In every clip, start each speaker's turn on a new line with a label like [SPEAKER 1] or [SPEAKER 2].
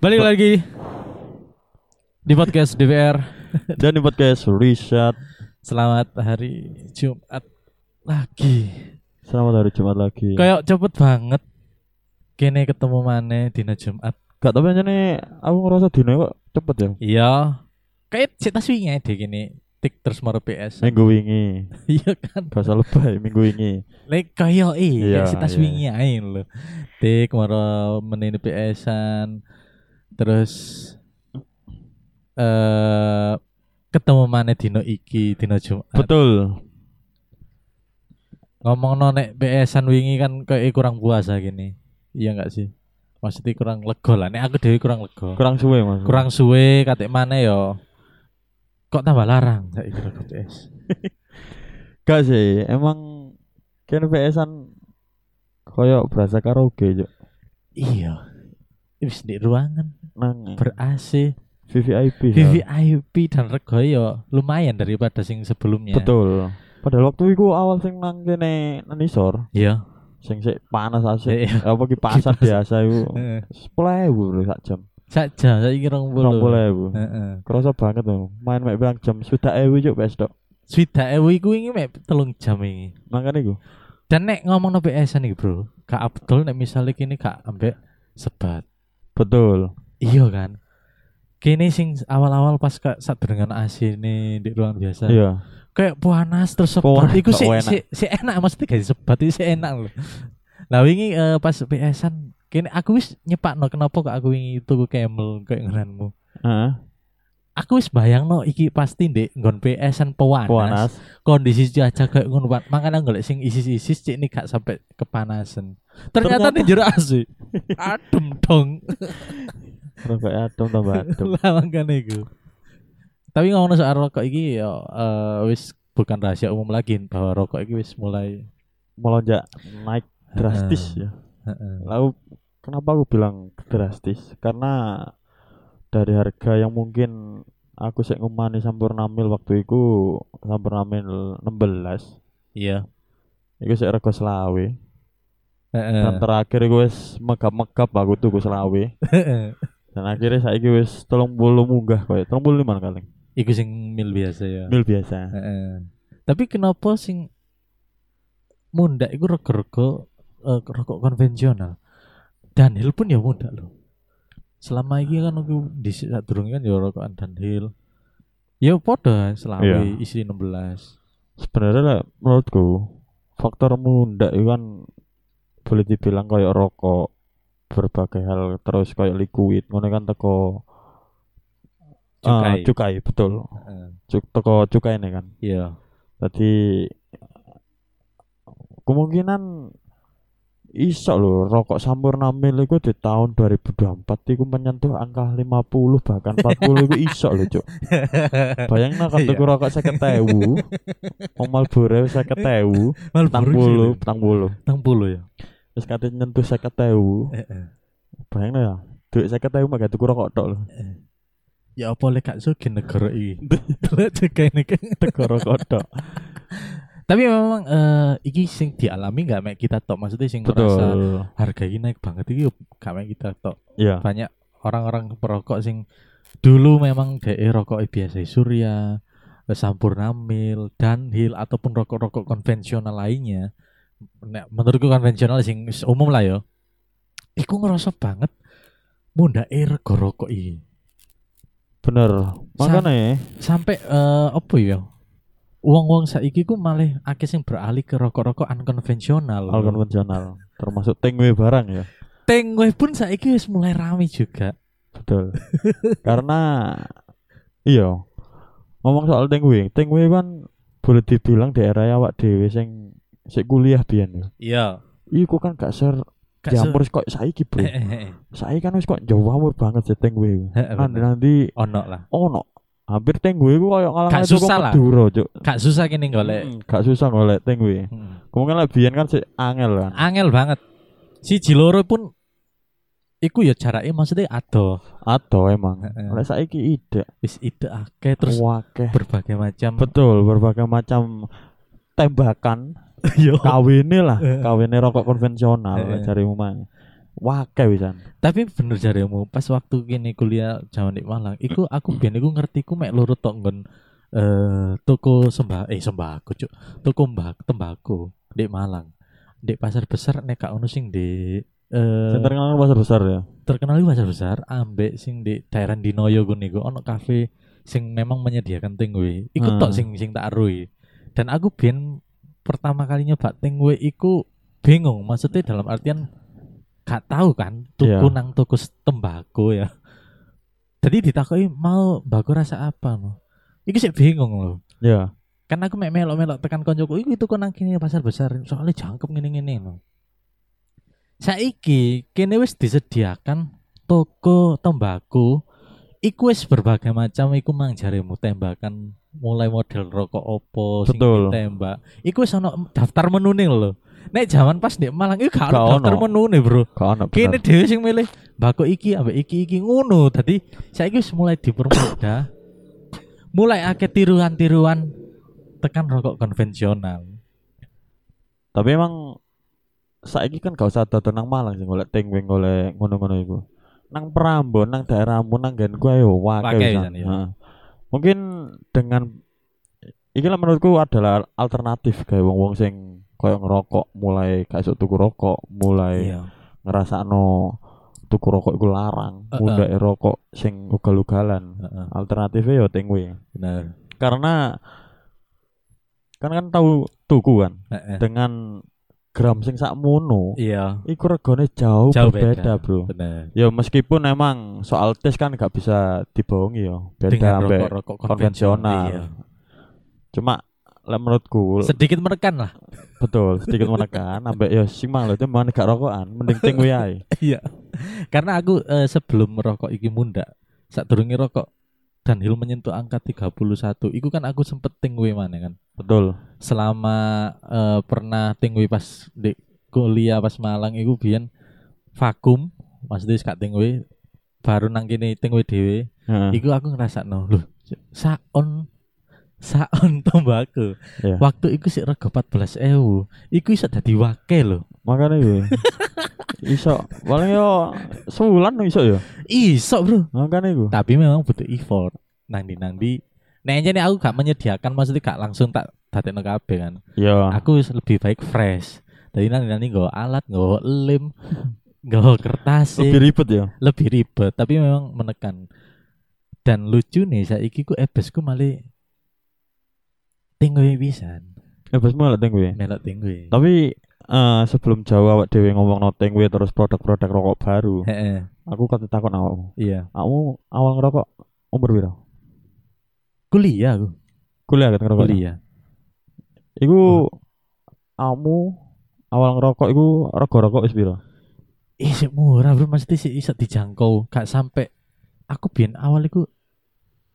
[SPEAKER 1] Balik lagi di podcast DPR.
[SPEAKER 2] Dan di podcast Rishat
[SPEAKER 1] Selamat hari Jumat lagi.
[SPEAKER 2] Selamat hari Jumat lagi
[SPEAKER 1] Kayak cepet banget. Kene ketemu maneh dina Jumat.
[SPEAKER 2] Gak tau aja nih Aku ngerasa dino kok cepet ya
[SPEAKER 1] Iya. Kayak cerita swinge deh gini. Tik terus mau PS.
[SPEAKER 2] Minggu wingi
[SPEAKER 1] Iya kan.
[SPEAKER 2] Bahasa lebay minggu wingi
[SPEAKER 1] Lek kayak iya
[SPEAKER 2] Iya,
[SPEAKER 1] cerita
[SPEAKER 2] iya.
[SPEAKER 1] swinge ae lho. Tik moro menini PS-an. Terus eh ketemu maneh dino iki dina Jumat.
[SPEAKER 2] Betul
[SPEAKER 1] ngomong nek BS-an wingi kan kayak kurang puasa gini iya nggak sih maksudnya kurang lego lah nek aku dewi kurang lego
[SPEAKER 2] Kurang suwe mas
[SPEAKER 1] kurang suwe katik mana yo kok tambah larang saya kira BS
[SPEAKER 2] Gak sih Emang Kan PS-an Koyok berasa karaoke yuk
[SPEAKER 1] iya wis di ruangan
[SPEAKER 2] Nang
[SPEAKER 1] ber AC
[SPEAKER 2] VVIP ya.
[SPEAKER 1] VVIP dan rego yo lumayan daripada sing sebelumnya
[SPEAKER 2] Betul Padahal waktu itu awal sing nang kene nang isor
[SPEAKER 1] iya
[SPEAKER 2] Sing sik panas asik
[SPEAKER 1] iya
[SPEAKER 2] Apa ki pasar biasa itu
[SPEAKER 1] Heeh.
[SPEAKER 2] Sepuluh ribu sak jam
[SPEAKER 1] saja saya kira
[SPEAKER 2] Rong
[SPEAKER 1] ngumpul
[SPEAKER 2] puluh ribu Kerasa banget loh Main mek bilang jam Sudah ewe yuk PS dok
[SPEAKER 1] Swidak ewu iku wingi mek telung jam ini
[SPEAKER 2] Makanya gue
[SPEAKER 1] dan nek ngomong no BS nih bro Kak Abdul nek misalnya kini Kak ambek sebat
[SPEAKER 2] Betul.
[SPEAKER 1] iya kan kini sing awal-awal pas kak saat dengan AC ini di ruang biasa
[SPEAKER 2] Iya.
[SPEAKER 1] kayak panas terus sebat
[SPEAKER 2] Panas,
[SPEAKER 1] itu
[SPEAKER 2] kok
[SPEAKER 1] sih
[SPEAKER 2] enak.
[SPEAKER 1] si, si enak maksudnya gak sebat itu sih enak loh nah wingi eh, pas PSan kini aku wis nyepak no kenapa kok aku wingi itu camel kayak ngeranmu
[SPEAKER 2] Heeh.
[SPEAKER 1] aku wis bayang no iki pasti ndek nggon PSan pewanas,
[SPEAKER 2] Panas.
[SPEAKER 1] kondisi cuaca kayak ngono Pak. makanya golek sing isis-isis cik ini gak sampai kepanasan ternyata,
[SPEAKER 2] Ternyata-
[SPEAKER 1] nih jero AC adem dong
[SPEAKER 2] Terus kayak adem tambah adem.
[SPEAKER 1] lah makanya iku. Tapi ngomong soal rokok iki ya eh, wis bukan rahasia umum lagi bahwa rokok iki wis mulai eh,
[SPEAKER 2] Melonjak naik drastis ya.
[SPEAKER 1] Heeh.
[SPEAKER 2] Lalu kenapa aku bilang drastis? Karena dari harga yang mungkin aku sik ngumani sampurna mil waktu itu sampurna mil 16
[SPEAKER 1] Iya.
[SPEAKER 2] Iku sik rego selawe
[SPEAKER 1] Heeh.
[SPEAKER 2] Dan terakhir iku wis megap-megap aku tuku selawe
[SPEAKER 1] Heeh.
[SPEAKER 2] Dan akhirnya saiki wis 30 munggah koyo 35 kali
[SPEAKER 1] Iku sing mil biasa ya.
[SPEAKER 2] Mil biasa
[SPEAKER 1] Heeh. Tapi kenapa sing munda iku rego-rego eh, rokok konvensional. Dunhill pun ya munda loh. Selama iki kan aku di durung kan ya rokokan Dunhill. Ya podo selawe
[SPEAKER 2] Iya.
[SPEAKER 1] isi 16.
[SPEAKER 2] sebenarnya lah, menurutku faktor muda itu kan boleh dibilang kayak rokok berbagai hal terus kayak liquid ngono kan teko eh,
[SPEAKER 1] Cukai.
[SPEAKER 2] cukai betul
[SPEAKER 1] Heeh.
[SPEAKER 2] Cuk, teko cukai ini kan
[SPEAKER 1] Iya.
[SPEAKER 2] tadi kemungkinan iso loh rokok sampurna mil itu di tahun 2024 itu menyentuh angka 50 bahkan 40 itu iso loh cuk bayangin
[SPEAKER 1] Iya.
[SPEAKER 2] lah kalau tuku rokok saya ketewu Marlboro saya ketewu petang bulu, petang bulu.
[SPEAKER 1] Tang puluh ya.
[SPEAKER 2] Terus kate nyentuh saya ewu.
[SPEAKER 1] Eh,
[SPEAKER 2] Bayangno ya. Duit saya ewu mah gak tuku rokok tok lho.
[SPEAKER 1] Ya apa lek gak sugih negara iki. Delok cekai nek.
[SPEAKER 2] Tuku rokok
[SPEAKER 1] kan.
[SPEAKER 2] tok.
[SPEAKER 1] Tapi memang eh iki sing dialami gak mek kita tok maksudnya sing merasa
[SPEAKER 2] Betul.
[SPEAKER 1] harga ini naik banget iki yo gak mek kita tok.
[SPEAKER 2] Iya.
[SPEAKER 1] Banyak orang-orang perokok sing dulu memang dhek rokok biasa Surya, Sampurna Mil, Dunhill ataupun rokok-rokok konvensional lainnya. Nek menurutku konvensional sing wis umum lah yo. Iku ngerasa banget mundake rego rokok iki.
[SPEAKER 2] Bener. Makanya
[SPEAKER 1] sampai eh apa ya uang-uang saiki ku malah akeh sing beralih ke rokok-rokok unkonvensional.
[SPEAKER 2] hal konvensional termasuk tingwe barang ya.
[SPEAKER 1] Tengwe pun saiki wis mulai rame juga.
[SPEAKER 2] Betul. Karena iya. Ngomong soal tingwe, tingwe kan boleh dibilang daerah awak dhewe sing sik kuliah biyen ya.
[SPEAKER 1] Iya.
[SPEAKER 2] Iku kan gak ser Eh, diampur kok saiki,
[SPEAKER 1] Eh,
[SPEAKER 2] Bro. Saiki kan wis kok Jawa amur banget sih tingwe. Nanti-nanti
[SPEAKER 1] Ono lah.
[SPEAKER 2] ono hampir teng gue ku koyo ngalah
[SPEAKER 1] Gak susah lah.
[SPEAKER 2] Madura cuk
[SPEAKER 1] Gak susah kene golek.
[SPEAKER 2] Hmm, gak susah golek teng gue
[SPEAKER 1] Hmm.
[SPEAKER 2] kemungkinan lah biyen kan si angel kan
[SPEAKER 1] Angel banget. Si Jiloro pun iku ya jarake maksudnya ado
[SPEAKER 2] atau emang
[SPEAKER 1] Heeh.
[SPEAKER 2] lek saiki ide
[SPEAKER 1] wis ide akeh terus
[SPEAKER 2] wakeh
[SPEAKER 1] berbagai macam
[SPEAKER 2] betul berbagai macam tembakan
[SPEAKER 1] Yo.
[SPEAKER 2] kawine lah
[SPEAKER 1] Heeh. Eh.
[SPEAKER 2] kawine rokok konvensional
[SPEAKER 1] Heeh.
[SPEAKER 2] cari umah Wakai wisan.
[SPEAKER 1] Tapi bener jaremu pas waktu kini kuliah Jawa di Malang, iku aku biyen iku ngerti ku mek lurut tok nggon eh toko sembah eh sembako cuk. Toko mbak tembako di Malang. Di pasar besar nek gak ono sing di eh
[SPEAKER 2] Center kan pasar besar ya.
[SPEAKER 1] terkenal di pasar besar ambek sing di daerah Dinoyo gue niku ono kafe sing memang menyediakan ting gue iku tok
[SPEAKER 2] Hmm.
[SPEAKER 1] sing sing tak arui dan aku biyen pertama kali nyoba ting gue iku bingung maksudnya dalam artian gak tahu kan tuku
[SPEAKER 2] Iya.
[SPEAKER 1] nang tuku s- tembako ya jadi ditakoi mau bako rasa apa no iku sih bingung loh
[SPEAKER 2] Ya.
[SPEAKER 1] kan aku mek melok-melok tekan koncoku iku itu nang kene pasar besar soalnya jangkep ngene-ngene no. Saiki kene wis disediakan toko tembako iku wis berbagai macam iku mang jaremu tembakan mulai model rokok opo sing
[SPEAKER 2] Betul.
[SPEAKER 1] ditembak iku wis ono daftar menune lho nek jaman pas di Malang iku gak
[SPEAKER 2] Gak
[SPEAKER 1] ono daftar
[SPEAKER 2] ono.
[SPEAKER 1] menune bro
[SPEAKER 2] Gak ono.
[SPEAKER 1] kene
[SPEAKER 2] bener.
[SPEAKER 1] dhewe sing milih bako iki ambek iki iki ngono dadi saiki wis mulai dipermudah mulai akeh tiruan-tiruan tekan rokok konvensional
[SPEAKER 2] Tapi emang saiki kan gak usah dodo nang Malang sih golek ting wing golek ngono-ngono iku. Nang Prambon, nang daerah Ambon, nang genku ayo
[SPEAKER 1] Wakai
[SPEAKER 2] wakai wisan.
[SPEAKER 1] wisan, iya.
[SPEAKER 2] oh, Heeh. Mungkin dengan iki lah menurutku adalah alternatif kayak wong-wong sing koyo ngerokok mulai gak iso tuku rokok, mulai
[SPEAKER 1] Iya.
[SPEAKER 2] ngerasakno tuku rokok iku larang,
[SPEAKER 1] Heeh.
[SPEAKER 2] mundake rokok sing ugal-ugalan.
[SPEAKER 1] heeh
[SPEAKER 2] Alternatifnya yo ting kuwi.
[SPEAKER 1] bener
[SPEAKER 2] Karena kan kan tahu tuku kan
[SPEAKER 1] Heeh.
[SPEAKER 2] dengan gram sing sakmono
[SPEAKER 1] iya
[SPEAKER 2] iku regane jauh,
[SPEAKER 1] Jauh
[SPEAKER 2] berbeda,
[SPEAKER 1] beda.
[SPEAKER 2] Bro.
[SPEAKER 1] bener
[SPEAKER 2] Ya meskipun emang soal tes kan nggak bisa dibohongi ya, beda
[SPEAKER 1] dengan
[SPEAKER 2] sampai
[SPEAKER 1] rokok-rokok konvensional
[SPEAKER 2] konvensional. Cuma lah menurutku
[SPEAKER 1] Iya. sedikit menekan lah
[SPEAKER 2] betul sedikit menekan ambek ya sing mang lho itu mana gak rokokan mending ting kuwi ae.
[SPEAKER 1] iya karena aku eh, sebelum merokok iki munda saat durungi rokok dan Hill menyentuh angka 31 iku kan aku sempet ting we mana kan
[SPEAKER 2] Betul.
[SPEAKER 1] selama eh, pernah tingwi pas di kuliah pas Malang iku biyen vakum maksudnya gak tingwi baru nang kene tingwi dhewe
[SPEAKER 2] Heeh.
[SPEAKER 1] iku aku ngrasakno lho saon saon tembako
[SPEAKER 2] Iya.
[SPEAKER 1] waktu iku sik rego 14.000 iku iso dadi wake lho
[SPEAKER 2] Makane kuwi. iso paling yo sebulan iso ya.
[SPEAKER 1] iso bro
[SPEAKER 2] Makane iku.
[SPEAKER 1] tapi memang butuh effort nang di nang di Nah, ini aku gak menyediakan maksudnya gak langsung tak dadekno kabeh kan.
[SPEAKER 2] Ya.
[SPEAKER 1] aku wis lebih baik fresh dari nanti nanti nggak alat nggak lem nggak kertas
[SPEAKER 2] Lebih
[SPEAKER 1] lebih,
[SPEAKER 2] ribet ya.
[SPEAKER 1] lebih ribet tapi memang menekan dan lucu nih saiki ku ebesku malah tinggal pisan
[SPEAKER 2] Ya bes malah ting kuwi.
[SPEAKER 1] melok tinggal
[SPEAKER 2] Tapi eh sebelum Jawa awak dhewe ngomong noting kuwi terus produk-produk rokok baru.
[SPEAKER 1] Heeh,
[SPEAKER 2] Aku kate takon awakmu.
[SPEAKER 1] iya
[SPEAKER 2] Kamu awal ngerokok umur piro?
[SPEAKER 1] kuliah aku
[SPEAKER 2] Kuliah kan ngerokok.
[SPEAKER 1] kuliah Hmm.
[SPEAKER 2] Iku kamu awal ngerokok iku rokok-rokok wis piro?
[SPEAKER 1] ih sik murah bro mesti sih iso dijangkau gak sampai aku biyen awal iku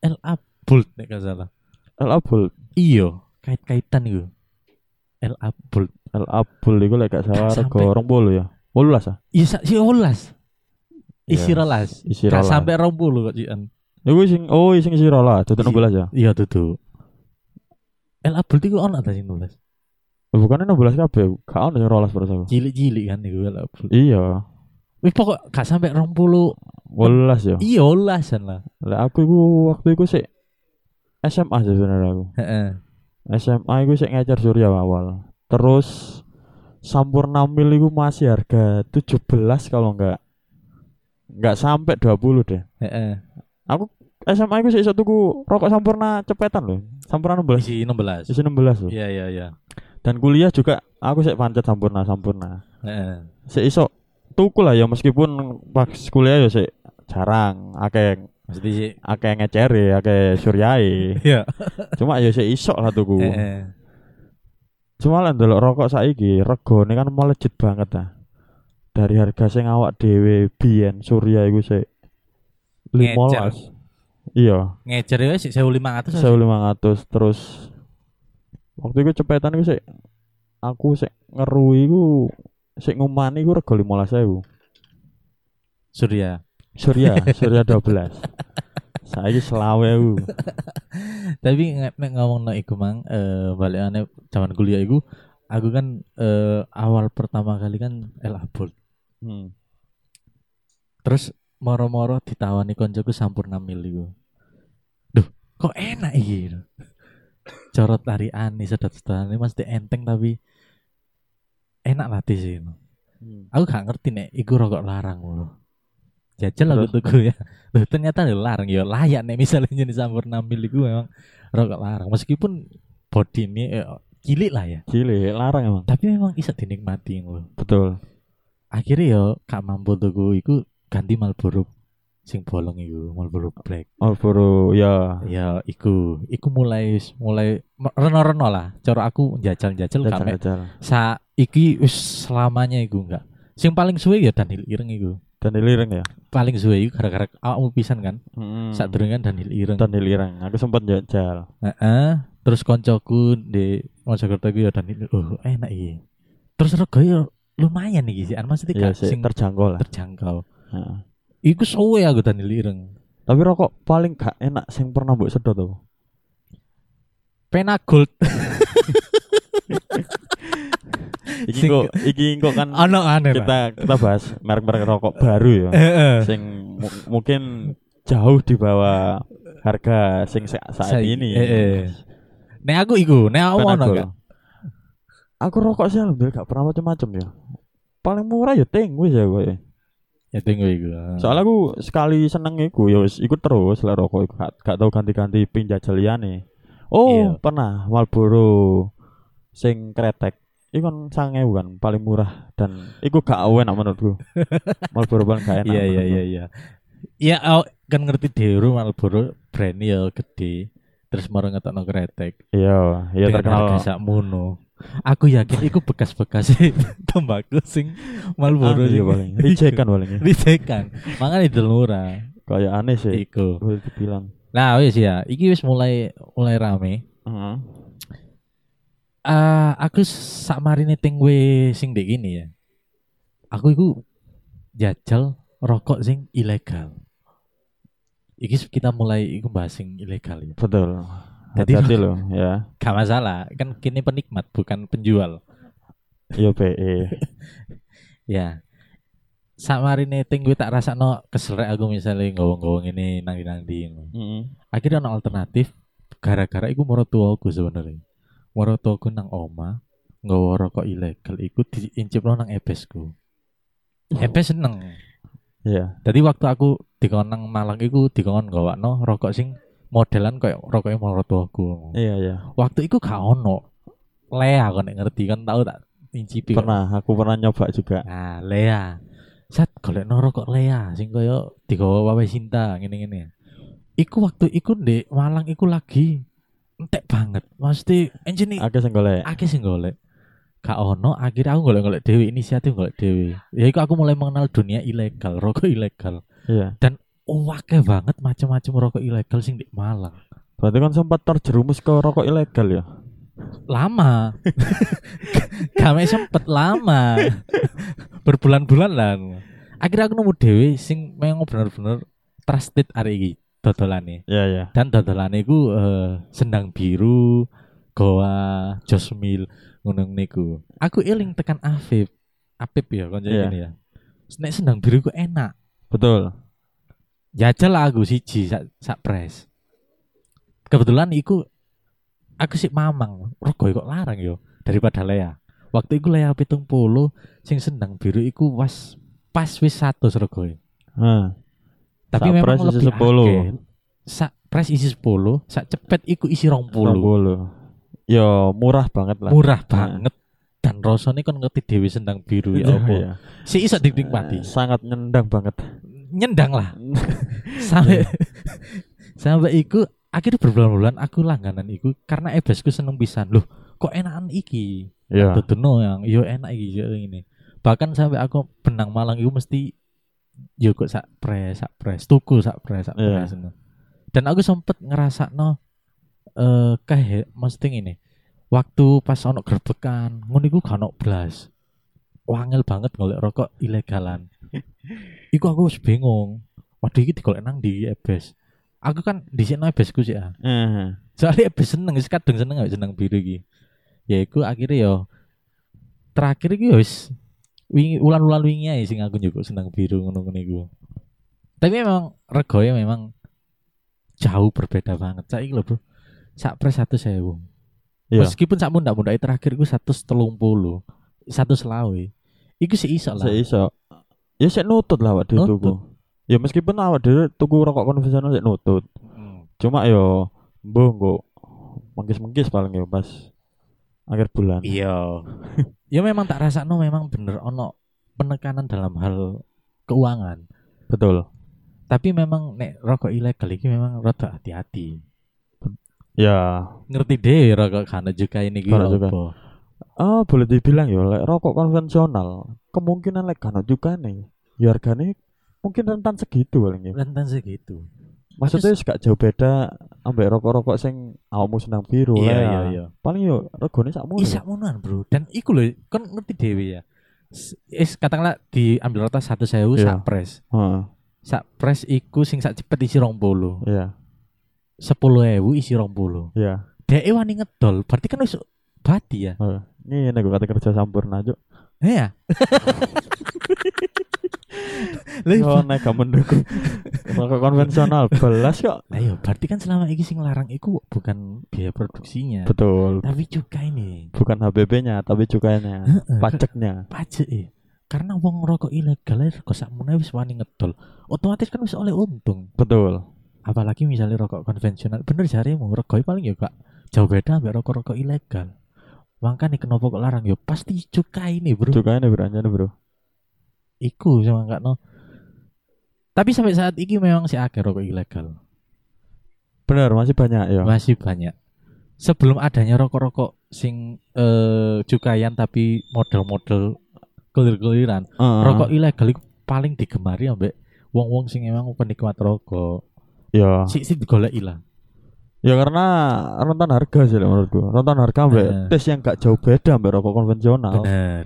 [SPEAKER 1] LA Bold nek gak salah
[SPEAKER 2] El Abul.
[SPEAKER 1] iya kait-kaitan iku LA Bold
[SPEAKER 2] El Abul iku lek gak salah
[SPEAKER 1] Gak
[SPEAKER 2] rego
[SPEAKER 1] sampai.
[SPEAKER 2] 20 ya. 18 ah.
[SPEAKER 1] Iya, sa- si olas. Isi
[SPEAKER 2] Iya,
[SPEAKER 1] rolas.
[SPEAKER 2] Isi
[SPEAKER 1] Gak
[SPEAKER 2] rolas.
[SPEAKER 1] sampai rombo lho kok Cian.
[SPEAKER 2] Iku sing oh sing isi rolas, dadi
[SPEAKER 1] Iya.
[SPEAKER 2] 16 ya.
[SPEAKER 1] Iya tutu. El Abdul itu ono ta sing nulis.
[SPEAKER 2] Bukannya 16 kabeh, gak ono sing rolas terus aku.
[SPEAKER 1] Cilik-cilik kan iku El Abdul.
[SPEAKER 2] Iya,
[SPEAKER 1] Wis pokok gak sampai rombo
[SPEAKER 2] 18 ya.
[SPEAKER 1] Iya olasan lah.
[SPEAKER 2] Lek aku iku waktu iku sik SMA sih sebenarnya aku.
[SPEAKER 1] Heeh.
[SPEAKER 2] SMA iku sik ngecer Surya awal. Terus Sampurna Mil iku masih harga 17 kalau enggak enggak sampai 20 deh.
[SPEAKER 1] Heeh.
[SPEAKER 2] SMA iku sik iso tuku rokok Sampurna cepetan loh. Sampurna 16.
[SPEAKER 1] Isi 16.
[SPEAKER 2] Isi 16 loh.
[SPEAKER 1] Iya iya iya.
[SPEAKER 2] Dan kuliah juga aku sik pancet Sampurna Sampurna.
[SPEAKER 1] Heeh.
[SPEAKER 2] Sik iso tuku lah ya meskipun pas kuliah ya sik jarang akeh
[SPEAKER 1] Mesti sih.
[SPEAKER 2] akeh ngecer akeh suryai
[SPEAKER 1] Iya.
[SPEAKER 2] cuma ya sik iso lah tuku
[SPEAKER 1] Heeh.
[SPEAKER 2] Cuma lah ndelok rokok saiki regane kan melejit banget ah. Dari harga sing awak dhewe biyen Surya iku sik 15. Iya,
[SPEAKER 1] Ngecer ya sik 1500.
[SPEAKER 2] 1500 terus waktu iku cepetan iku sik aku sik ngerui iku sik ngumani iku rego 15000.
[SPEAKER 1] Surya.
[SPEAKER 2] Surya, Surya 12. Saiki selawe aku.
[SPEAKER 1] Tapi nge- nek ngomong no iku mang eh balikane zaman kuliah iku aku kan eh awal pertama kali kan El Abdul
[SPEAKER 2] Hmm.
[SPEAKER 1] Terus moro-moro ditawani koncoku sampurna mil iku. Duh, kok enak iki. Corot tariane sedot-sedotane mesti enteng tapi enak lati sih.
[SPEAKER 2] hmm.
[SPEAKER 1] Aku gak ngerti nek iku rokok larang lho. Jajal aku
[SPEAKER 2] Terus?
[SPEAKER 1] tuku ya. Loh, ternyata lho larang ya layak nek misalnya jenis sampurna mil iku memang rokok larang meskipun bodine eh, cilik lah ya.
[SPEAKER 2] Cilik larang emang.
[SPEAKER 1] Tapi memang bisa dinikmati lho.
[SPEAKER 2] Betul.
[SPEAKER 1] akhirnya ya, yo gak mampu tuku iku ganti Marlboro sing bolong iku Marlboro Black
[SPEAKER 2] Marlboro ya.
[SPEAKER 1] ya iku iku mulai mulai reno-reno lah cara aku jajal-jajal kame
[SPEAKER 2] Jajan-jajan.
[SPEAKER 1] sa iki wis selamanya iku enggak sing paling suwe ya Daniel Ireng iku
[SPEAKER 2] Dan ilireng ya.
[SPEAKER 1] paling suwe iku gara-gara awakmu pisan kan
[SPEAKER 2] Heeh.
[SPEAKER 1] saat durunge kan Daniel Ireng
[SPEAKER 2] Dan ilireng. Aku sempat jajal.
[SPEAKER 1] Heeh. terus koncoku di Mojokerto iku ya Daniel oh enak iki terus regane yo lumayan iki sih maksudnya
[SPEAKER 2] Ya
[SPEAKER 1] gak
[SPEAKER 2] sih
[SPEAKER 1] sing
[SPEAKER 2] terjangkau lah.
[SPEAKER 1] terjangkau
[SPEAKER 2] Heeh.
[SPEAKER 1] iku suwe aku Daniel Ireng
[SPEAKER 2] Tapi rokok paling gak enak sing pernah mbok sedot tuh.
[SPEAKER 1] pena gold
[SPEAKER 2] Iki
[SPEAKER 1] Sing-
[SPEAKER 2] kok iki kok kan
[SPEAKER 1] ono aneh Eh. kita
[SPEAKER 2] kita kita bahas merek-merek rokok baru ya. sing mu- mungkin jauh di bawah harga sing sa- saat
[SPEAKER 1] Saiki,
[SPEAKER 2] ini.
[SPEAKER 1] eh, eh. nek aku iku nek aku
[SPEAKER 2] Karena
[SPEAKER 1] ono
[SPEAKER 2] gua-
[SPEAKER 1] gak
[SPEAKER 2] Aku rokok sih alhamdulillah gak pernah macam-macam ya. Paling murah ya ting wis ya gue.
[SPEAKER 1] ya tunggu iku
[SPEAKER 2] Soalnya aku sekali seneng iku ya wis ikut terus lah rokok iku gak, gak tau ganti-ganti ping jajal liyane. Oh,
[SPEAKER 1] Iya.
[SPEAKER 2] pernah Marlboro sing kretek. Iku kan sange kan paling murah dan iku gak enak menurutku. Marlboro paling gak enak.
[SPEAKER 1] iya iya iya
[SPEAKER 2] menurutku.
[SPEAKER 1] iya ya aku kan ngerti Deru Marlboro brand ya gede terus moro ngetokno kretek
[SPEAKER 2] Iya, iya
[SPEAKER 1] dengan
[SPEAKER 2] terkenal
[SPEAKER 1] harga sakmono aku yakin iku bekas-bekas tembakau sing Marlboro
[SPEAKER 2] Anu ya
[SPEAKER 1] sing
[SPEAKER 2] paling. Reject kan paling. ya.
[SPEAKER 1] ricekan makanya itu murah
[SPEAKER 2] Kayak aneh
[SPEAKER 1] Iya.
[SPEAKER 2] sih.
[SPEAKER 1] iku
[SPEAKER 2] Boleh dibilang.
[SPEAKER 1] nah wis ya iki wis mulai mulai rame Mm-hmm.
[SPEAKER 2] Heeh.
[SPEAKER 1] Eh, aku sakmarine ting we sing ndek gini ya. Aku iku jajal rokok sing ilegal. Iki kita mulai iku bahas sing ilegal ya.
[SPEAKER 2] Betul.
[SPEAKER 1] Jadi-
[SPEAKER 2] Hati-hati loh ya.
[SPEAKER 1] Gak masalah, kan kini penikmat bukan penjual.
[SPEAKER 2] Iya PE.
[SPEAKER 1] Ya. Sakmarine ting gue tak rasakno keselrek aku misalnya ngomong-ngomong ini nang-nang-di.
[SPEAKER 2] Heeh.
[SPEAKER 1] akhirnya ono alternatif gara-gara iku moro tuaku sebenarnya moro tuaku nang oma nggawa rokok ilegal iku diincipno nang ebesku ebes seneng
[SPEAKER 2] Oh. Iya.
[SPEAKER 1] jadi waktu aku dikon nang Malang iku dikon gawakno rokok sing modelan kayak rokoknya moro tuaku
[SPEAKER 2] Iya iya.
[SPEAKER 1] waktu iku gak ono lea kan nek ngerti kan tau tak incipi kok.
[SPEAKER 2] Pernah aku pernah nyoba juga.
[SPEAKER 1] nah lea Sat golekno rokok lea sing kaya digawa wae Sinta ngene-ngene. Iku waktu iku ndek Malang iku lagi entek banget. Mesti enjene
[SPEAKER 2] Aku sing golek.
[SPEAKER 1] akeh sing golek. Gak ono akhirnya aku golek-golek dhewe inisiatif golek dhewe. Ya iku aku mulai mengenal dunia ilegal, rokok ilegal.
[SPEAKER 2] Iya.
[SPEAKER 1] Oh, akeh banget macam-macam rokok ilegal sing ndek Malang.
[SPEAKER 2] Berarti kan sempat terjerumus ke rokok ilegal ya.
[SPEAKER 1] Lama. Kami sempet lama. Berbulan-bulan lah. Akhirnya aku nemu dhewe sing memang bener-bener trusted hari iki dodolane.
[SPEAKER 2] Iya iya.
[SPEAKER 1] dan dodolane iku eh, sendang biru goa josmil ngono niku aku eling tekan Afif Afif ya konco
[SPEAKER 2] Iya.
[SPEAKER 1] ini ya nek sendang biru ku enak
[SPEAKER 2] Betul.
[SPEAKER 1] jajal lah aku siji sak sak pres kebetulan iku aku sik mamang rego kok larang yo daripada Lea waktu iku Lea pitung puluh sing sendang biru iku was pas wis satu rego
[SPEAKER 2] Nah,
[SPEAKER 1] tapi
[SPEAKER 2] Sak
[SPEAKER 1] memang
[SPEAKER 2] pres isi
[SPEAKER 1] lebih
[SPEAKER 2] 10.
[SPEAKER 1] akeh. sak pres isi 10 sak cepet iku isi 20
[SPEAKER 2] bolu. Yo Ya, murah banget lah.
[SPEAKER 1] murah banget dan rasanya kan ngerti dewi sendang biru ya
[SPEAKER 2] Iya,
[SPEAKER 1] apa
[SPEAKER 2] iya.
[SPEAKER 1] si iso dinikmati
[SPEAKER 2] Eh, Sangat nyendang banget.
[SPEAKER 1] nyendang lah sampai sampai iku akhirnya berbulan-bulan aku langganan iku karena ebesku seneng pisan loh kok enakan iki
[SPEAKER 2] Iya.
[SPEAKER 1] Dudukno yang yo enak iki yo ini bahkan sampai aku benang malang iku mesti yo kok sak pres sak pres tuku sak pres sak
[SPEAKER 2] Iya.
[SPEAKER 1] pres ngono. dan aku sempet ngerasakno eh kayak mesti ini waktu pas ono gerbekan ngono iku gak ono blas wangel banget golek rokok ilegalan iku aku wis bingung waduh iki digolek nang di ebes aku kan dhisikno ebesku sih ah
[SPEAKER 2] Eh,
[SPEAKER 1] soalnya abis seneng wis kadung seneng gak seneng biru ya, iki ya iku akhirnya yo terakhir iki yo wis wingi ulan-ulan wingi ae sing aku juga seneng biru ngono ngene iku. Tapi memang regonya memang jauh berbeda banget. Saiki lho, Bro. Sak pres 1000.
[SPEAKER 2] Iya.
[SPEAKER 1] Meskipun sak mundak mundake terakhir ku 130, 100 selawe. e. Iku sih iso lah.
[SPEAKER 2] Saya iso. Ya saya nutut lah awak dhewe
[SPEAKER 1] Nutut.
[SPEAKER 2] tuku. Ya meskipun awak dhewe tuku rokok konvensional saya nutut.
[SPEAKER 1] Hmm.
[SPEAKER 2] Cuma yo mbuh nggo mengkis-mengkis paling yo pas akhir bulan.
[SPEAKER 1] Iya. ya memang tak rasakno memang bener ono penekanan dalam hal keuangan.
[SPEAKER 2] Betul.
[SPEAKER 1] Tapi memang nek rokok ilegal iki memang rada hati-hati.
[SPEAKER 2] Ya,
[SPEAKER 1] Ngerti deh rokok kana juga ini
[SPEAKER 2] Kana juga. ah boleh dibilang ya lek rokok konvensional kemungkinan lek kanot juga nih. Ya harganya mungkin rentan segitu paling ya.
[SPEAKER 1] Rentan segitu.
[SPEAKER 2] Maksudnya gak jauh beda ambek rokok-rokok sing awakmu senang biru
[SPEAKER 1] Iya
[SPEAKER 2] lah ya.
[SPEAKER 1] iya iya.
[SPEAKER 2] Paling yo regane sakmu.
[SPEAKER 1] Isak monoan, Bro. Dan iku lho kan ngerti dhewe ya. S- Is katakanlah diambil rata 1.000
[SPEAKER 2] Iya.
[SPEAKER 1] sak pres.
[SPEAKER 2] Heeh,
[SPEAKER 1] Sak pres iku sing sak cepet isi 20.
[SPEAKER 2] iya,
[SPEAKER 1] 10.000 isi 20.
[SPEAKER 2] iya.
[SPEAKER 1] Dhek wani ngedol, berarti kan wis bati ya.
[SPEAKER 2] Heeh. Ini nek kata kerja sampurna aja.
[SPEAKER 1] Iya.
[SPEAKER 2] Yo nek gak mendukung rokok konvensional belas kok.
[SPEAKER 1] Lah ya, berarti kan selama ini sing larang iku bukan biaya produksinya,
[SPEAKER 2] Betul.
[SPEAKER 1] tapi juga ini
[SPEAKER 2] Bukan HBB-nya tapi cukainya, pajaknya.
[SPEAKER 1] pajak ya. Karena wong rokok ilegal ae rego sakmene wis wani ngedol, otomatis kan wis oleh untung.
[SPEAKER 2] Betul.
[SPEAKER 1] Apalagi misalnya rokok konvensional, bener jarimu regoe paling ya gak jauh beda ambek rokok-rokok ilegal. Makanya kenapa kok larang ya pasti cukai nih bro.
[SPEAKER 2] Cukainya beranjana, Bro.
[SPEAKER 1] Iku sama Kak No. Tapi sampai saat ini memang si akeh rokok ilegal.
[SPEAKER 2] Benar, masih banyak ya.
[SPEAKER 1] masih banyak sebelum adanya rokok-rokok sing eh cukayan tapi model-model kelir-keliran
[SPEAKER 2] Heeh.
[SPEAKER 1] rokok ilegal itu paling digemari ambek wong-wong sing emang penikmat rokok
[SPEAKER 2] ya.
[SPEAKER 1] sik sik digoleki lah
[SPEAKER 2] Ya karena rentan harga sih lek menurutku. Rentan harga ambek
[SPEAKER 1] Bener.
[SPEAKER 2] tes yang gak jauh beda ambek rokok konvensional.
[SPEAKER 1] Iya. bener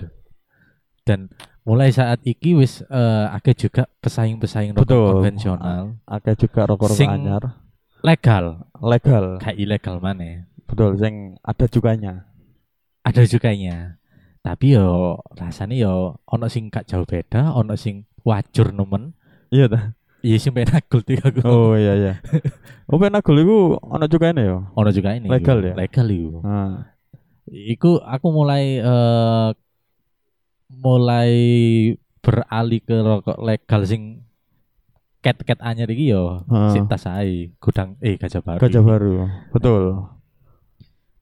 [SPEAKER 1] dan mulai saat iki wis eh akeh juga pesaing-pesaing rokok
[SPEAKER 2] Betul.
[SPEAKER 1] konvensional
[SPEAKER 2] Akeh juga rokok-rokok
[SPEAKER 1] Sing-
[SPEAKER 2] anyar
[SPEAKER 1] legal
[SPEAKER 2] legal.
[SPEAKER 1] kayak ilegal mana
[SPEAKER 2] Betul, sing ada cukainya.
[SPEAKER 1] ada cukainya tapi yo rasanya yo ono sing gak jauh beda ono sing wajur nemen
[SPEAKER 2] Iya ta.
[SPEAKER 1] iya sih penakul tiga aku
[SPEAKER 2] Oh iya iya. Oh penagul iku ana cukainya ya.
[SPEAKER 1] ono juga ini
[SPEAKER 2] Legal
[SPEAKER 1] iku.
[SPEAKER 2] ya?
[SPEAKER 1] legal itu
[SPEAKER 2] Heeh.
[SPEAKER 1] iku aku mulai eh mulai beralih ke rokok legal sing ket-ket anyar iki yo
[SPEAKER 2] Heeh.
[SPEAKER 1] sing tas ae gudang eh Ah. gajah baru
[SPEAKER 2] Gajah
[SPEAKER 1] iki.
[SPEAKER 2] Baru, betul.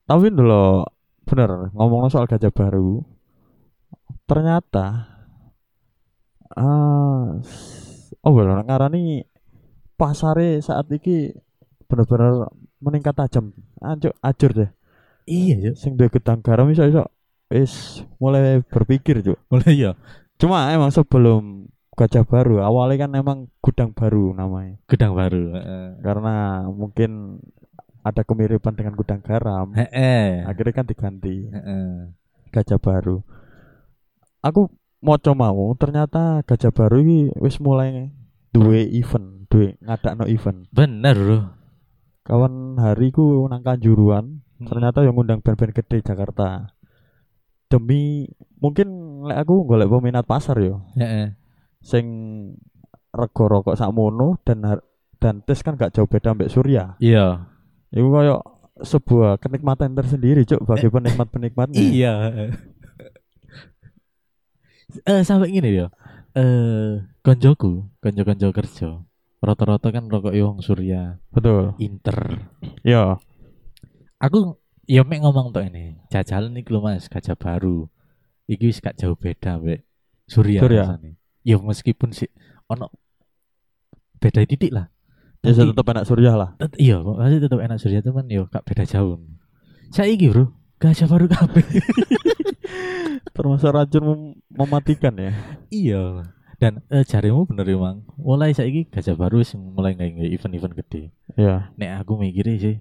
[SPEAKER 2] Tapi dulu bener ngomong soal Gajah Baru, ternyata ah s- oh bener ngarani pasare saat ini bener-bener meningkat tajam. Anjuk ajur deh.
[SPEAKER 1] iya yo
[SPEAKER 2] Sing duwe gedang garam iso iso wis mulai berpikir, Cuk.
[SPEAKER 1] mulai yo
[SPEAKER 2] Cuma emang sebelum Gajah Baru awalnya kan emang gudang baru namanya.
[SPEAKER 1] gudang baru heeh
[SPEAKER 2] Karena mungkin ada kemiripan dengan gudang garam.
[SPEAKER 1] heeh
[SPEAKER 2] akhirnya kan diganti
[SPEAKER 1] Heeh.
[SPEAKER 2] gajah baru aku mau mau ternyata gajah baru ini wis mulai duwe event duwe ngadakno event
[SPEAKER 1] bener bro
[SPEAKER 2] kawan hari ku nang kanjuruan ternyata yang ngundang band-band gede Jakarta demi mungkin lek aku golek peminat pasar yo
[SPEAKER 1] heeh
[SPEAKER 2] sing rego rokok sakmono dan har- dan tes kan gak jauh beda ambek Surya
[SPEAKER 1] iya
[SPEAKER 2] itu koyo sebuah kenikmatan tersendiri cuk bagi penikmat penikmatnya
[SPEAKER 1] iya eh sampai gini yo eh konjoku konjo-konjo kerja rata-rata kan rokok yo wong surya
[SPEAKER 2] betul
[SPEAKER 1] inter
[SPEAKER 2] ya
[SPEAKER 1] aku ya mek ngomong tuh ini jajalan nih lho mas gajah baru iki wis gak jauh beda wek surya,
[SPEAKER 2] Surya.
[SPEAKER 1] rasane. ya meskipun sih ono beda titik lah
[SPEAKER 2] Ya saya
[SPEAKER 1] Tapi-
[SPEAKER 2] tetap anak Suriah lah.
[SPEAKER 1] tet- iya masih tetap enak surya teman yo gak beda jauh saiki bro gajah baru kabeh
[SPEAKER 2] Termasuk racun mem- mematikan ya.
[SPEAKER 1] iya dan eh, jarimu bener ya mang mulai saiki gajah baru wis mulai nggak event-event gede
[SPEAKER 2] Iya.
[SPEAKER 1] nek aku mikirnya sih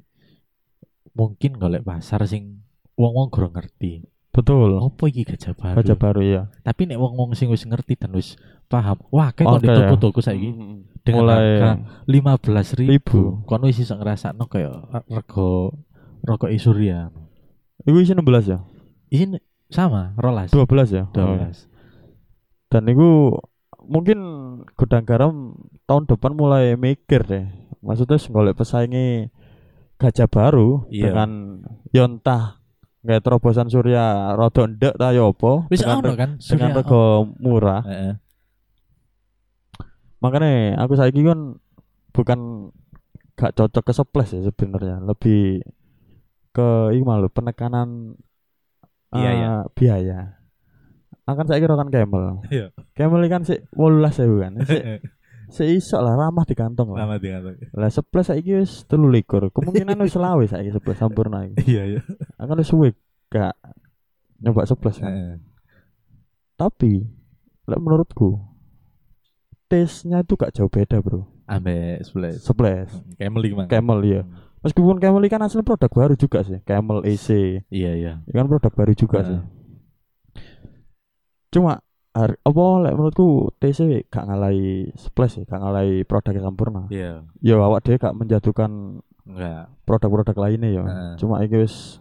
[SPEAKER 1] mungkin golek pasar sing wong-wong kurang ngerti
[SPEAKER 2] Betul.
[SPEAKER 1] apa iki gajah baru
[SPEAKER 2] Gajah baru ya.
[SPEAKER 1] tapi nek wong wong sing wis ngerti dan wis paham wah kayak okay,
[SPEAKER 2] Oke,
[SPEAKER 1] di
[SPEAKER 2] ya.
[SPEAKER 1] toko-toko saiki Hmm, dengan harga lima belas ribu
[SPEAKER 2] Ribu.
[SPEAKER 1] kono wis iso ngrasakno kaya rego rokok e Surya
[SPEAKER 2] Itu isi 16 ya?
[SPEAKER 1] ini sama rolas
[SPEAKER 2] 12 ya?
[SPEAKER 1] 12
[SPEAKER 2] dan itu mungkin gudang garam tahun depan mulai mikir deh maksudnya golek pesaingi gajah baru
[SPEAKER 1] Iya.
[SPEAKER 2] dengan yontah nggak terobosan surya rada ndek ta ya apa
[SPEAKER 1] Wis
[SPEAKER 2] dengan,
[SPEAKER 1] ono kan?
[SPEAKER 2] dengan
[SPEAKER 1] Surya-
[SPEAKER 2] rego murah
[SPEAKER 1] Heeh.
[SPEAKER 2] makanya aku saiki kan bukan gak cocok ke seples ya sebenarnya lebih ke ini malu penekanan eh,
[SPEAKER 1] Biaya.
[SPEAKER 2] biaya akan saya kira kan camel
[SPEAKER 1] Iya.
[SPEAKER 2] camel ini kan si wolulas ya bukan si, si iso lah ramah di kantong lah
[SPEAKER 1] Lama tinggal.
[SPEAKER 2] lah seples saiki wis telu likur kemungkinan wis selawe saiki seples sampurna iki
[SPEAKER 1] Iya iya.
[SPEAKER 2] akan wis suwe gak nyoba seples kan
[SPEAKER 1] Heeh.
[SPEAKER 2] tapi lek menurutku taste-nya itu gak jauh beda bro
[SPEAKER 1] Ambek sebelas.
[SPEAKER 2] seples
[SPEAKER 1] Kayak meli mang.
[SPEAKER 2] Camel ya. Meskipun Camel ini kan asli produk baru juga sih. Camel AC.
[SPEAKER 1] Iya iya.
[SPEAKER 2] Ini kan produk baru juga
[SPEAKER 1] Nah.
[SPEAKER 2] sih. Cuma har- apa lek menurutku TC gak ngalahi Splash sih, gak ngalahi produk yang sempurna.
[SPEAKER 1] Iya.
[SPEAKER 2] Ya awak dhewe gak menjatuhkan
[SPEAKER 1] Enggak.
[SPEAKER 2] produk-produk lainnya ya.
[SPEAKER 1] Heeh.
[SPEAKER 2] Cuma iki wis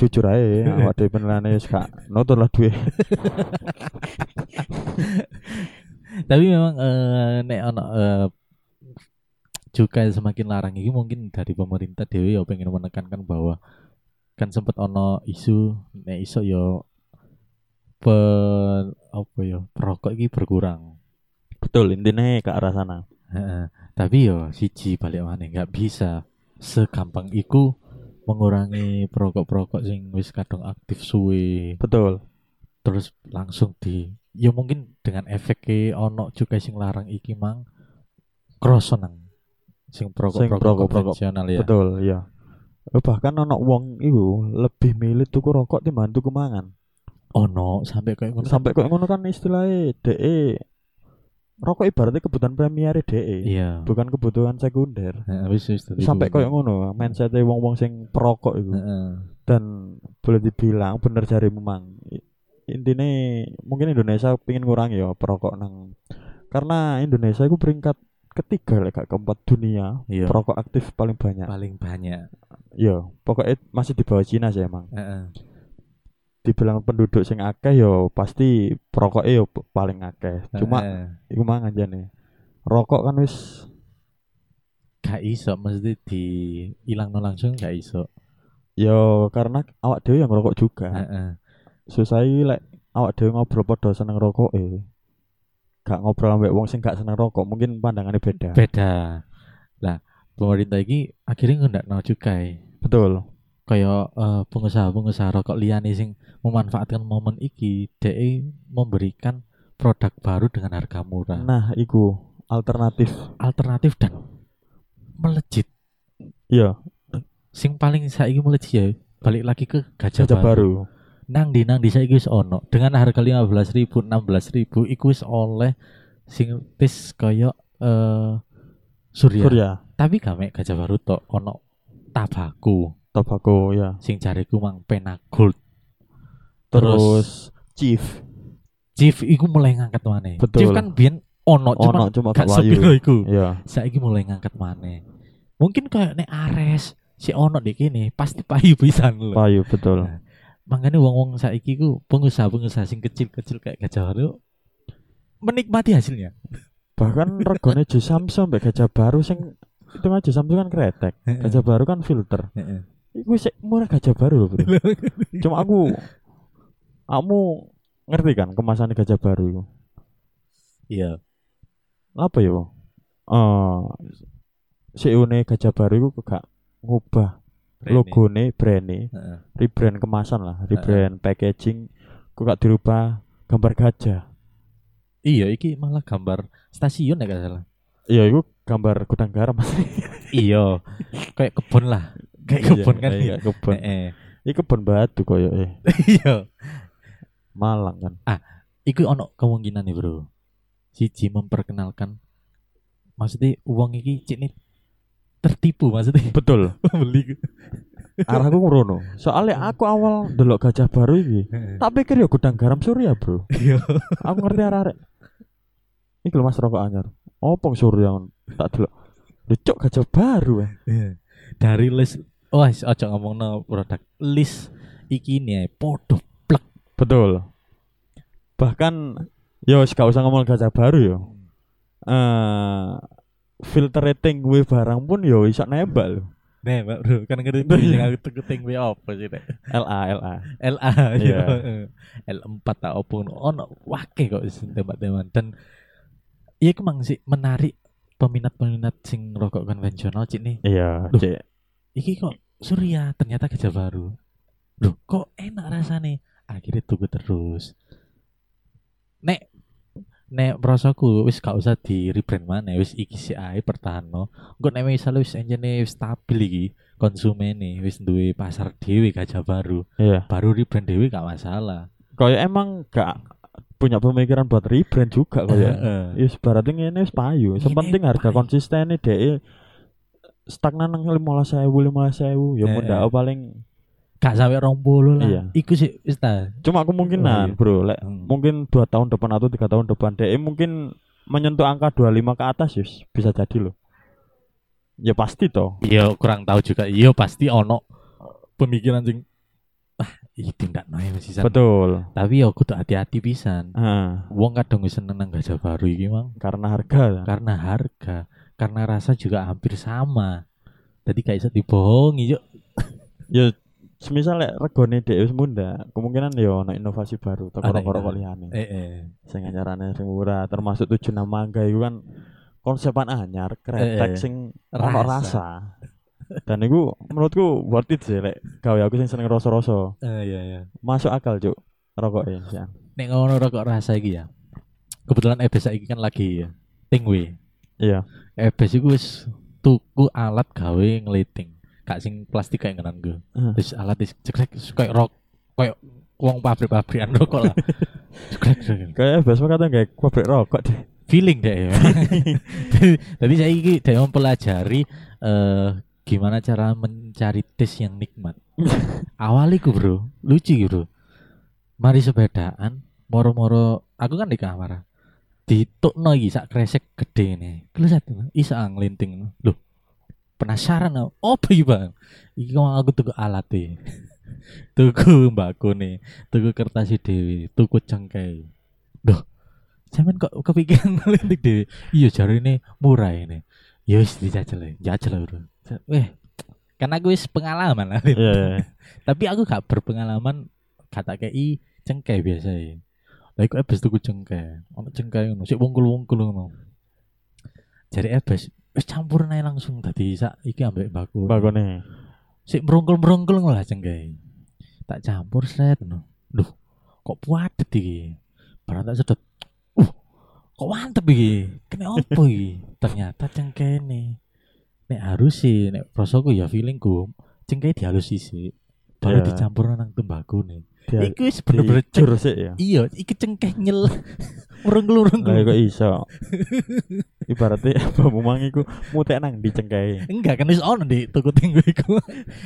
[SPEAKER 2] jujur aja awak dhewe penelane wis gak nonton lah duwe.
[SPEAKER 1] Tapi memang eh, nek ono eh, cukai semakin larang ini mungkin dari pemerintah dewi ya pengen menekankan bahwa kan sempat ono isu nek iso yo pe apa ya perokok ini berkurang.
[SPEAKER 2] Betul intine ke arah sana.
[SPEAKER 1] Heeh. tapi yo siji balik maneh nggak bisa segampang iku mengurangi perokok-perokok sing wis kadung aktif suwe
[SPEAKER 2] Betul.
[SPEAKER 1] terus langsung di ya mungkin dengan efek ke ono juga sing larang iki mang kroso nang sing
[SPEAKER 2] perokok-perokok.
[SPEAKER 1] perokok-perokok konvensional ya
[SPEAKER 2] Betul, iya. Eh, Bahkan anak wong iku lebih milih tuku rokok timbang tuku mangan.
[SPEAKER 1] ono sampai kayak ngono
[SPEAKER 2] sampai kok ngono kan istilahnya DE rokok ibaratnya kebutuhan premier DE
[SPEAKER 1] iya
[SPEAKER 2] bukan kebutuhan sekunder
[SPEAKER 1] Heeh, wis wis tadi
[SPEAKER 2] sampai
[SPEAKER 1] gua-
[SPEAKER 2] kok ngono mindsetnya wong-wong sing perokok itu
[SPEAKER 1] Heeh.
[SPEAKER 2] dan boleh dibilang bener jari memang intinya mungkin Indonesia pingin ngurangi ya perokok nang karena Indonesia itu peringkat ketiga lah gak keempat dunia
[SPEAKER 1] iya
[SPEAKER 2] perokok aktif paling banyak
[SPEAKER 1] paling banyak
[SPEAKER 2] ya pokoknya masih di bawah Cina sih emang
[SPEAKER 1] Heeh.
[SPEAKER 2] dibilang penduduk sing akeh yo pasti perokoknya yo paling akeh cuma
[SPEAKER 1] Heeh.
[SPEAKER 2] Iku mang aja nih. Rokok kan wis
[SPEAKER 1] gak iso mesti di ilang langsung gak iso
[SPEAKER 2] yo ya karena awak dhewe yang ngerokok juga.
[SPEAKER 1] Heeh.
[SPEAKER 2] Susah iki lek awak dhewe ngobrol padha seneng rokok e. Gak ngobrol ambek wong sing gak seneng rokok, mungkin pandangannya beda.
[SPEAKER 1] beda lah pemerintah iki akhirnya eh. nggak mau cukai
[SPEAKER 2] Betul.
[SPEAKER 1] kayak eh, pengusaha-pengusaha rokok liane sing memanfaatkan momen iki DE memberikan produk baru dengan harga murah
[SPEAKER 2] Nah, iku alternatif.
[SPEAKER 1] alternatif dan melejit
[SPEAKER 2] Iya,
[SPEAKER 1] sing paling saiki melejit ya balik lagi ke gajah,
[SPEAKER 2] gajah
[SPEAKER 1] baru.
[SPEAKER 2] baru.
[SPEAKER 1] nang di nang di saiki wis ono dengan harga 15.000 16.000 iku wis oleh sing tis kayak eh, surya.
[SPEAKER 2] Surya,
[SPEAKER 1] tapi gak mek gajah baru tok ono tabaku
[SPEAKER 2] tobacco ya.
[SPEAKER 1] sing jariku mang pena gold
[SPEAKER 2] Terus, Chief.
[SPEAKER 1] Chief iku mulai ngangkat maneh.
[SPEAKER 2] Betul.
[SPEAKER 1] Chief kan biyen ono cuma
[SPEAKER 2] Ono cuma
[SPEAKER 1] gak
[SPEAKER 2] gak
[SPEAKER 1] sepiro
[SPEAKER 2] wayu.
[SPEAKER 1] iku.
[SPEAKER 2] Iya,
[SPEAKER 1] Saiki mulai ngangkat maneh. Mungkin kayak nek Ares si ono di kene pasti payu pisan lho.
[SPEAKER 2] payu betul.
[SPEAKER 1] Makanya wong-wong saiki ku pengusaha-pengusaha sing kecil-kecil kayak Gajah Baru menikmati hasilnya.
[SPEAKER 2] Bahkan regane jus Samsung ambek gajah baru sing itu aja Samsung kan kretek.
[SPEAKER 1] Eh.
[SPEAKER 2] Gajah baru kan filter.
[SPEAKER 1] Heeh.
[SPEAKER 2] Iku sik murah gajah baru loh, Bro. Cuma aku kamu ngerti kan kemasan gajah baru itu.
[SPEAKER 1] Iya.
[SPEAKER 2] Apa ya? Bang? Eh CEO-ne gajah baru itu gak ngubah logone brand
[SPEAKER 1] ya. Heeh.
[SPEAKER 2] rebrand kemasan lah, rebrand packaging kok gak dirubah gambar gajah.
[SPEAKER 1] Iya, iki malah gambar stasiun ya gak salah.
[SPEAKER 2] Iya, itu gambar gudang garam Mas.
[SPEAKER 1] iya. Kayak kebun lah. Kayak kebun kan.
[SPEAKER 2] Iya, iya, kebun.
[SPEAKER 1] Heeh.
[SPEAKER 2] Iki kebun batu koyo eh
[SPEAKER 1] Iya.
[SPEAKER 2] Malang kan.
[SPEAKER 1] iku ono kemungkinan nih bro siji memperkenalkan maksudnya uang iki cik nih tertipu maksudnya
[SPEAKER 2] Betul.
[SPEAKER 1] beli
[SPEAKER 2] Arahku ngono. Soalnya aku awal delok gajah baru iki. Tak pikir ya gudang garam surya, Bro.
[SPEAKER 1] iya
[SPEAKER 2] aku ngerti arek-arek. Iki lho Mas rokok anyar. Opong surya ngono. tak delok. Dicok gajah baru eh.
[SPEAKER 1] Iya. dari list wah ojo ngomong no produk list iki nih podo
[SPEAKER 2] Betul. Bahkan Yo, wis gak usah ngomong gajah baru yo. Eh filter rating gue barang pun yo iso nembak lho.
[SPEAKER 1] Nih, Mbak Bro, kan ngerti tuh sing aku tegeting kuwi apa sih nek.
[SPEAKER 2] LA LA.
[SPEAKER 1] LA
[SPEAKER 2] Iya.
[SPEAKER 1] ya. L4 tak opo ngono. Ono wake kok sing tembak-tembakan dan iya ku mang sih menarik peminat-peminat sing rokok konvensional cik nih.
[SPEAKER 2] Iya,
[SPEAKER 1] Duh.
[SPEAKER 2] Cek.
[SPEAKER 1] Iki kok Surya ternyata gajah baru. Loh, kok enak rasane. Akhirnya tuku terus. Nek nek rasaku wis gak usah di rebrand mana wis iki si ae pertano. Engko nek misalnya wis enjene wis stabil iki konsumene wis duwe pasar dhewe gajah baru.
[SPEAKER 2] Iya.
[SPEAKER 1] Baru rebrand dhewe gak masalah.
[SPEAKER 2] Kayak emang gak punya pemikiran buat rebrand juga kayak.
[SPEAKER 1] Heeh.
[SPEAKER 2] Yes, berarti Ya, ini wis payu.
[SPEAKER 1] Ngene
[SPEAKER 2] Sepenting harga
[SPEAKER 1] payu.
[SPEAKER 2] konsisten nih DE stagnan nang 15.000 15.000 ya
[SPEAKER 1] Eh,
[SPEAKER 2] pun
[SPEAKER 1] eh.
[SPEAKER 2] paling
[SPEAKER 1] Gak sampe 20 lah.
[SPEAKER 2] Iya.
[SPEAKER 1] Iku sih wis ta.
[SPEAKER 2] cuma
[SPEAKER 1] Oh, iya.
[SPEAKER 2] kemungkinan bro lek
[SPEAKER 1] Hmm.
[SPEAKER 2] mungkin dua tahun depan atau tiga tahun depan DE mungkin menyentuh angka 25 ke atas Yus bisa jadi loh ya pasti toh
[SPEAKER 1] Iya kurang tahu juga. Iya pasti ono pemikiran sing ah iki tindak nae mesti
[SPEAKER 2] betul
[SPEAKER 1] tapi ya kudu hati-hati pisan
[SPEAKER 2] Ah,
[SPEAKER 1] wong kadang wis seneng nang gajah baru iki mang
[SPEAKER 2] karena harga
[SPEAKER 1] karena harga karena rasa juga hampir sama tadi kayak bisa dibohongi yuk
[SPEAKER 2] ya semisal lek regone DE wis munda kemungkinan ya ono inovasi baru teko
[SPEAKER 1] Ada
[SPEAKER 2] rokok-rokok
[SPEAKER 1] inovasi.
[SPEAKER 2] liyane
[SPEAKER 1] eh, eh.
[SPEAKER 2] sing anyarane sing murah termasuk tujuh nama mangga itu kan konsepan anyar
[SPEAKER 1] Eh,
[SPEAKER 2] kretek
[SPEAKER 1] eh.
[SPEAKER 2] sing
[SPEAKER 1] Rasa.
[SPEAKER 2] rasa. rasa dan itu menurutku worth it sih lek gawe aku sing seneng rasa-rasa
[SPEAKER 1] Eh, iya iya
[SPEAKER 2] masuk akal cuk rokoknya ya
[SPEAKER 1] nek ngono rokok rasa iki ya kebetulan EBS iki kan lagi ya tingwe
[SPEAKER 2] iya
[SPEAKER 1] EBS iku wis tuku alat gawe ngeliting kak sing plastik kayak ngenan gue
[SPEAKER 2] Hmm.
[SPEAKER 1] terus alat is cekrek kayak rok kayak wong pabrik-pabrikan rokok lah cekrek cekrek
[SPEAKER 2] kayak besok kata gak pabrik rokok deh
[SPEAKER 1] feeling deh ya. Jadi- Jadi saya ini deh mempelajari eh, gimana cara mencari taste yang nikmat. Awalnya ku bro, lucu gitu bro. Mari sepedaan, moro-moro, aku kan di kamar. Ditokno iki sak kresek gede nih. Kelesat isa nglinting. ah Loh, penasaran aku. Apa iki, Bang? Iki kok aku tuku alat e. tuku mbakone, tuku kertas e dhewe, tuku cengkeh. Loh, sampean kok kepikiran nglinting dhewe. Iya jare ini murah ini. Ya wis dijajal ae, jajal ae, Bro. Weh, karena aku wis pengalaman lah.
[SPEAKER 2] iya iya iya.
[SPEAKER 1] tapi aku gak berpengalaman kata KI cengkeh biasa ya lah iku ebes tuku cengkeh ono cengkeh ngono sik wungkul-wungkul ngono jadi ebes wis campur nae langsung tadi sak iki ambek baku
[SPEAKER 2] bagone
[SPEAKER 1] sik merungkul-merungkul ngono lah cengkeh tak campur set ngono duh kok puadet iki barang tak sedot uh kok mantep iki kena opo iki ternyata cengkeh ini nek harus sih nek prosoku ya feelingku cengkeh dihalus sih baru
[SPEAKER 2] Iya.
[SPEAKER 1] dicampur nang tembakau nih
[SPEAKER 2] dia
[SPEAKER 1] iki wis bener-bener
[SPEAKER 2] jur
[SPEAKER 1] ceng-
[SPEAKER 2] sih ya
[SPEAKER 1] iya iki cengkeh nyel urung-urung
[SPEAKER 2] lah kok iso ibaratnya apa mumang iku mutek nang dicengkei
[SPEAKER 1] enggak kan wis ono di tuku tinggu iku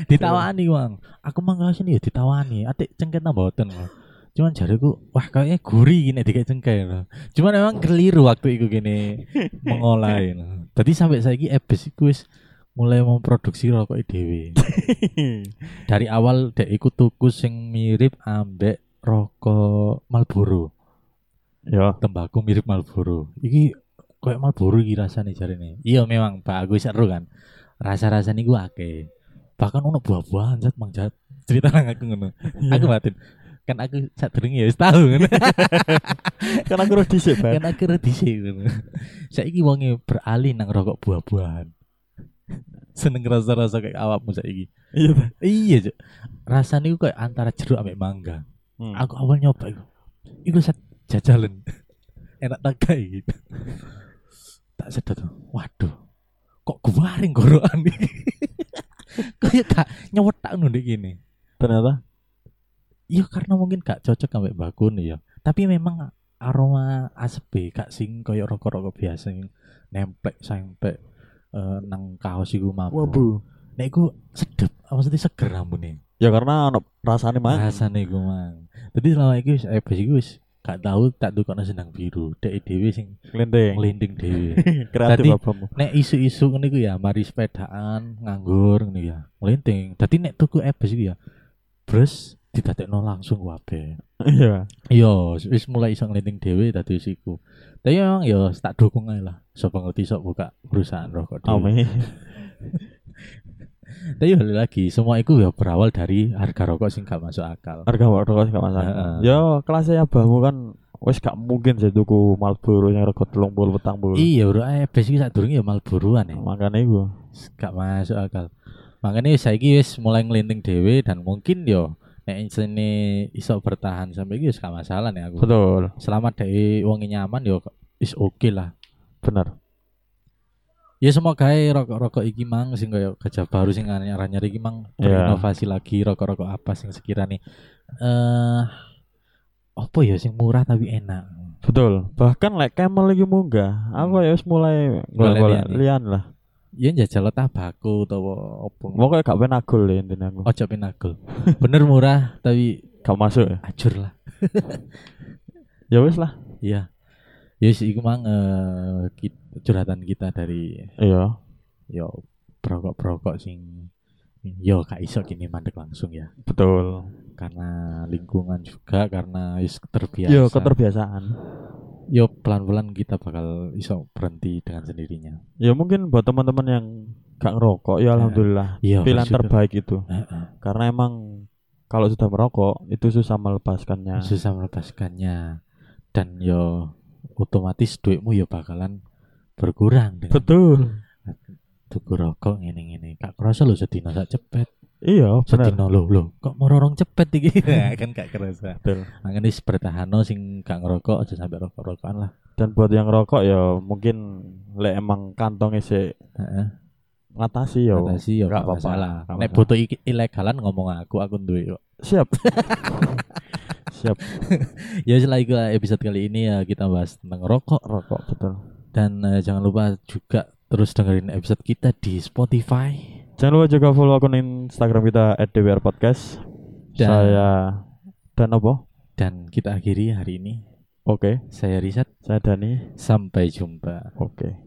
[SPEAKER 1] ditawani Mang aku mang kawasan ya ditawani atik cengkeh tambah boten Mang. cuman jariku wah kayaknya gurih gini tiga cengkeh lho. cuman emang keliru waktu itu gini mengolah lho. tadi sampai saiki ebes iku wis mulai memproduksi rokok dhewe dari awal dek iku tuku sing mirip ambek rokok Marlboro
[SPEAKER 2] ya
[SPEAKER 1] tembakau mirip Marlboro. Iki kayak Marlboro iki rasane jarene. Iya memang Pak aku seru kan. Rasa-rasane iku akeh. Bahkan ono buah-buahan jat mang jat. Cerita nang aku ngono.
[SPEAKER 2] Iya.
[SPEAKER 1] Aku batin. Kan aku sadurunge ya wis tahu kan.
[SPEAKER 2] kan aku harus dhisik Bar.
[SPEAKER 1] kan aku redisi ngono. Saiki wonge beralih nang rokok buah-buahan. Seneng rasa-rasa kayak awakmu saiki.
[SPEAKER 2] iya Bar.
[SPEAKER 1] Iya, Cuk. Rasane iku kayak antara jeruk ambek mangga.
[SPEAKER 2] Hmm.
[SPEAKER 1] aku awal nyoba iku iku set jajalan enak tak kayak gitu tak sedot waduh kok guaring gorokan iki kayak gak nyewet tak nundi gini
[SPEAKER 2] ternyata
[SPEAKER 1] iya karena mungkin gak cocok sampai bakun ya tapi memang aroma asep e gak sing koyo rokok-rokok biasa yang nemplek sampai eh, nang kaos iku mabuk
[SPEAKER 2] wabu
[SPEAKER 1] nek iku sedep maksudnya seger ambune
[SPEAKER 2] ya karena ono rasane mang
[SPEAKER 1] Rasane iku mang. Dadi selama iki wis ebes iku wis gak tau tak tukokno senang biru, dek dhewe sing
[SPEAKER 2] Kelenteng.
[SPEAKER 1] nglinding dhewe.
[SPEAKER 2] kreatif
[SPEAKER 1] Tadi-
[SPEAKER 2] babamu
[SPEAKER 1] nek isu-isu ngene iku ya mari sepedaan, nganggur ngene ya, nglinding. Dadi nek tuku ebes iku ya bres didadekno langsung wabe.
[SPEAKER 2] Iya.
[SPEAKER 1] Iya, wis mulai iso nglinting dhewe dadi wis iku. Tapi memang ya wis tak dukung ae lah. Sapa ngerti sok buka perusahaan rokok dhewe.
[SPEAKER 2] Ame.
[SPEAKER 1] Tapi ya balik lagi, semua itu ya berawal dari harga rokok sing gak masuk akal.
[SPEAKER 2] Harga rokok gak masalah.
[SPEAKER 1] Heeh.
[SPEAKER 2] Ya kelasnya abahmu kan wis gak mungkin sih tuku Marlboro yang rego 30 petang bulu.
[SPEAKER 1] Iya, bro, eh bes iki sadurunge e. ya Marlboroan ya.
[SPEAKER 2] Makanya iku.
[SPEAKER 1] Gak masuk akal. Makanya saiki wis mulai ngelinting dhewe dan mungkin yo nek sini iso bertahan sampai iki wis gak masalah nih aku.
[SPEAKER 2] Betul.
[SPEAKER 1] Selama dhewe wong nyaman yo is oke lah.
[SPEAKER 2] Bener.
[SPEAKER 1] Ya semoga ae rokok-rokok iki mang sing kaya kerja baru sing anyar-anyar iki mang
[SPEAKER 2] Iya.
[SPEAKER 1] berinovasi lagi rokok-rokok apa sing sekiranya eh apa ya sing murah tapi enak.
[SPEAKER 2] Betul. Bahkan lek Camel iki munggah, aku ya wis mulai golek-golek
[SPEAKER 1] lian.
[SPEAKER 2] lian iya. lah.
[SPEAKER 1] Ya njajal tabako utawa opo.
[SPEAKER 2] Pokoknya gak penagul ya intinya aku.
[SPEAKER 1] Ojo pinagul. Bener murah tapi
[SPEAKER 2] Gak masuk ya.
[SPEAKER 1] ajur lah.
[SPEAKER 2] Ya wis lah.
[SPEAKER 1] Iya. Ya sih iku mang eh, ki- curhatan kita dari
[SPEAKER 2] Iya.
[SPEAKER 1] yo perokok-perokok sing yo gak iso kini mandek langsung ya
[SPEAKER 2] Betul.
[SPEAKER 1] karena lingkungan juga karena is terbiasa
[SPEAKER 2] Yo keterbiasaan.
[SPEAKER 1] yo pelan-pelan kita bakal iso berhenti dengan sendirinya.
[SPEAKER 2] Ya mungkin buat teman-teman yang gak ngerokok ya alhamdulillah.
[SPEAKER 1] Iya,
[SPEAKER 2] Pilihan
[SPEAKER 1] bersyukur.
[SPEAKER 2] terbaik itu.
[SPEAKER 1] Heeh,
[SPEAKER 2] Karena emang kalau sudah merokok itu susah melepaskannya.
[SPEAKER 1] Susah melepaskannya dan yo otomatis duitmu yo bakalan berkurang dengan
[SPEAKER 2] Betul.
[SPEAKER 1] tuku rokok ngene-ngene. Kak kerasa lo sedina sak cepet.
[SPEAKER 2] Iya, benar.
[SPEAKER 1] Sedina lo lo kok mororong cepet iki. Ya, kan gak kerasa.
[SPEAKER 2] Betul.
[SPEAKER 1] Makanya kan wis bertahano sing gak ngerokok aja sampai rokok-rokokan lah.
[SPEAKER 2] Dan buat yang ngerokok ya mungkin lek emang kantongnya sih
[SPEAKER 1] Heeh.
[SPEAKER 2] ngatasi ya.
[SPEAKER 1] Kata sih yo
[SPEAKER 2] gak
[SPEAKER 1] gak
[SPEAKER 2] apa-apa,
[SPEAKER 1] masalah.
[SPEAKER 2] gak
[SPEAKER 1] Nek
[SPEAKER 2] masalah.
[SPEAKER 1] butuh iki- ilegalan ngomong aku aku duwe kok.
[SPEAKER 2] Siap. Siap
[SPEAKER 1] Ya setelah itu lah episode kali ini ya kita bahas tentang rokok.
[SPEAKER 2] rokok betul.
[SPEAKER 1] Dan eh, jangan lupa juga terus dengerin episode kita di Spotify.
[SPEAKER 2] Jangan lupa juga follow akun Instagram kita @dwrpodcast.
[SPEAKER 1] Dan-
[SPEAKER 2] Saya dan apa?
[SPEAKER 1] Dan kita akhiri hari ini.
[SPEAKER 2] Oke,
[SPEAKER 1] Saya Rizat,
[SPEAKER 2] saya Dani.
[SPEAKER 1] sampai jumpa.
[SPEAKER 2] Oke.